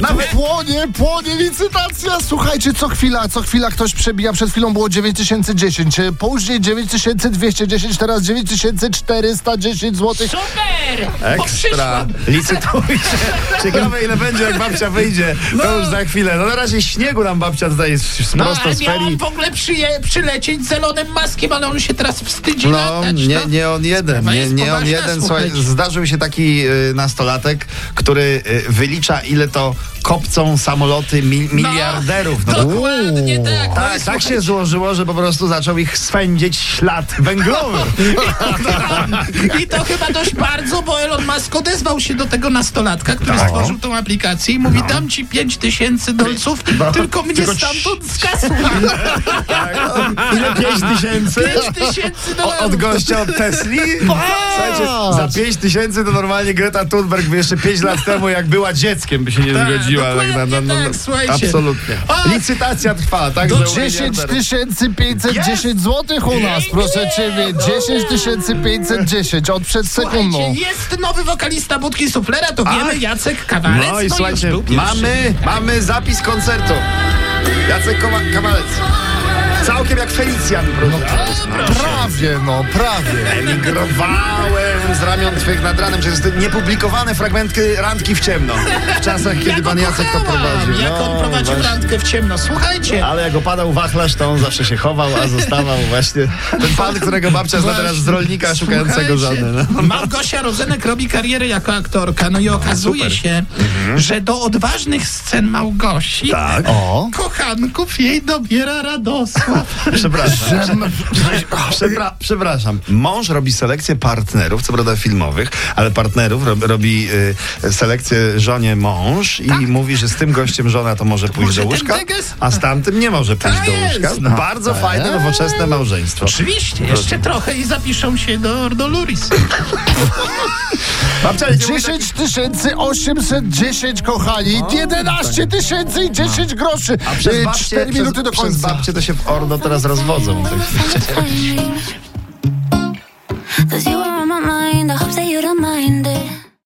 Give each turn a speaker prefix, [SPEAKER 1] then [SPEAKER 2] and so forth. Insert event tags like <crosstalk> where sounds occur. [SPEAKER 1] Nawet płonie, płonie licytacja. Słuchajcie, co chwila, co chwila ktoś przebija. Przed chwilą było 9010, e, później 9210, teraz 9410 zł.
[SPEAKER 2] Super! Bo
[SPEAKER 3] Ekstra.
[SPEAKER 2] przyszłam. <laughs>
[SPEAKER 3] Licytujcie. Ciekawe ile będzie, jak babcia wyjdzie. To już za chwilę. No na razie śniegu nam babcia tutaj z- z-
[SPEAKER 2] No,
[SPEAKER 3] prosto
[SPEAKER 2] ale
[SPEAKER 3] z
[SPEAKER 2] miałam
[SPEAKER 3] ferii.
[SPEAKER 2] w ogóle przyje, przylecieć zelonym maskiem, ale on się teraz wstydzi
[SPEAKER 3] No,
[SPEAKER 2] latać.
[SPEAKER 3] nie,
[SPEAKER 2] no.
[SPEAKER 3] nie on jeden,
[SPEAKER 2] Sprawa
[SPEAKER 3] nie,
[SPEAKER 2] jest
[SPEAKER 3] nie on
[SPEAKER 2] poważna,
[SPEAKER 3] jeden. Słuchaj,
[SPEAKER 2] słuchajcie.
[SPEAKER 3] zdarzył się taki y, nastolatek, który y, wylicza, ile to kopcą samoloty mi, miliarderów. No,
[SPEAKER 2] No, Dokładnie tak.
[SPEAKER 3] tak,
[SPEAKER 2] No i
[SPEAKER 3] tak
[SPEAKER 2] słuchajcie,
[SPEAKER 3] się złożyło, że po prostu zaczął ich swędzić ślad
[SPEAKER 2] <laughs>
[SPEAKER 3] węglowy.
[SPEAKER 2] I to chyba dość bardzo, bo Elon Musk odezwał się do tego nastolatka, który
[SPEAKER 3] Tak.
[SPEAKER 2] stworzył tą aplikację i mówi, dam ci 5 tysięcy dolców, tylko mnie
[SPEAKER 3] No. Tylko
[SPEAKER 2] stamtąd
[SPEAKER 3] <laughs>
[SPEAKER 2] skasuj.
[SPEAKER 3] Tak, no, ile? Pięć tysięcy?
[SPEAKER 2] 5 tysięcy
[SPEAKER 3] O- Od
[SPEAKER 2] dolarów.
[SPEAKER 3] gościa od Tesli? Słuchajcie, za 5 tysięcy to normalnie Greta Thunberg by jeszcze 5 lat temu, jak była dzieckiem, by się nie
[SPEAKER 2] Tak,
[SPEAKER 3] zgodziła.
[SPEAKER 2] dokładnie tak, słuchajcie.
[SPEAKER 3] absolutnie.
[SPEAKER 2] Och!
[SPEAKER 3] Licytacja trwa, tak?
[SPEAKER 1] Do
[SPEAKER 3] że u
[SPEAKER 1] 10
[SPEAKER 3] miliarderów.
[SPEAKER 1] 510 zł u nas, proszę ciebie. 10 510 od przed
[SPEAKER 2] Słuchajcie,
[SPEAKER 1] sekundą.
[SPEAKER 2] jest nowy wokalista Budki Suflera, to wiemy,
[SPEAKER 3] Ach.
[SPEAKER 2] Jacek Kawalec.
[SPEAKER 3] No i
[SPEAKER 2] już
[SPEAKER 3] słuchajcie,
[SPEAKER 2] był pierwszy.
[SPEAKER 3] mamy, mamy zapis koncertu. Jacek Koma- Kamalec. Całkiem jak Felicjan, no,
[SPEAKER 1] Prawie, no, prawie.
[SPEAKER 3] Emigrowałem z ramion twych nad ranem przez te niepublikowane fragmenty randki w ciemno. W czasach, kiedy
[SPEAKER 2] Ja
[SPEAKER 3] pan
[SPEAKER 2] go
[SPEAKER 3] Jacek to
[SPEAKER 2] kochałam,
[SPEAKER 3] prowadził.
[SPEAKER 2] Jak on
[SPEAKER 3] No,
[SPEAKER 2] prowadził randkę w ciemno. Słuchajcie,
[SPEAKER 3] Ale jak opadał wachlarz, to on zawsze się chował, a zostawał właśnie ten pan, którego babcia zna teraz z rolnika szukającego
[SPEAKER 2] Słuchajcie,
[SPEAKER 3] żony. No.
[SPEAKER 2] Małgosia Rozenek robi karierę jako aktorka, no i okazuje się,
[SPEAKER 3] Mhm.
[SPEAKER 2] że do odważnych scen Małgosi
[SPEAKER 3] Tak.
[SPEAKER 1] O.
[SPEAKER 2] kochanków jej dobiera Radosław.
[SPEAKER 3] Przepraszam. Przepra- <laughs> przepraszam. Mąż robi selekcję partnerów, co prawda filmowych, ale partnerów rob, robi y, selekcję żonie mąż i mówi, że z tym gościem żona to może pójść
[SPEAKER 2] może
[SPEAKER 3] do
[SPEAKER 2] ten
[SPEAKER 3] łóżka,
[SPEAKER 2] deges?
[SPEAKER 3] a z tamtym nie może pójść
[SPEAKER 2] Tak
[SPEAKER 3] do
[SPEAKER 2] jest,
[SPEAKER 3] łóżka.
[SPEAKER 2] no.
[SPEAKER 3] Bardzo fajne, nowoczesne małżeństwo.
[SPEAKER 2] Oczywiście, jeszcze trochę i zapiszą się do, do Luris.
[SPEAKER 3] Babcia, nie mówi
[SPEAKER 1] 10 810 kochani,
[SPEAKER 3] No,
[SPEAKER 1] 11 tysięcy i 10 groszy.
[SPEAKER 3] tak- No. przez
[SPEAKER 1] Y,
[SPEAKER 3] babcie-
[SPEAKER 1] 4 minuty do
[SPEAKER 3] Przez, przez
[SPEAKER 1] końca.
[SPEAKER 3] babcie to się w Ordo teraz rozwodzą.
[SPEAKER 4] Fine.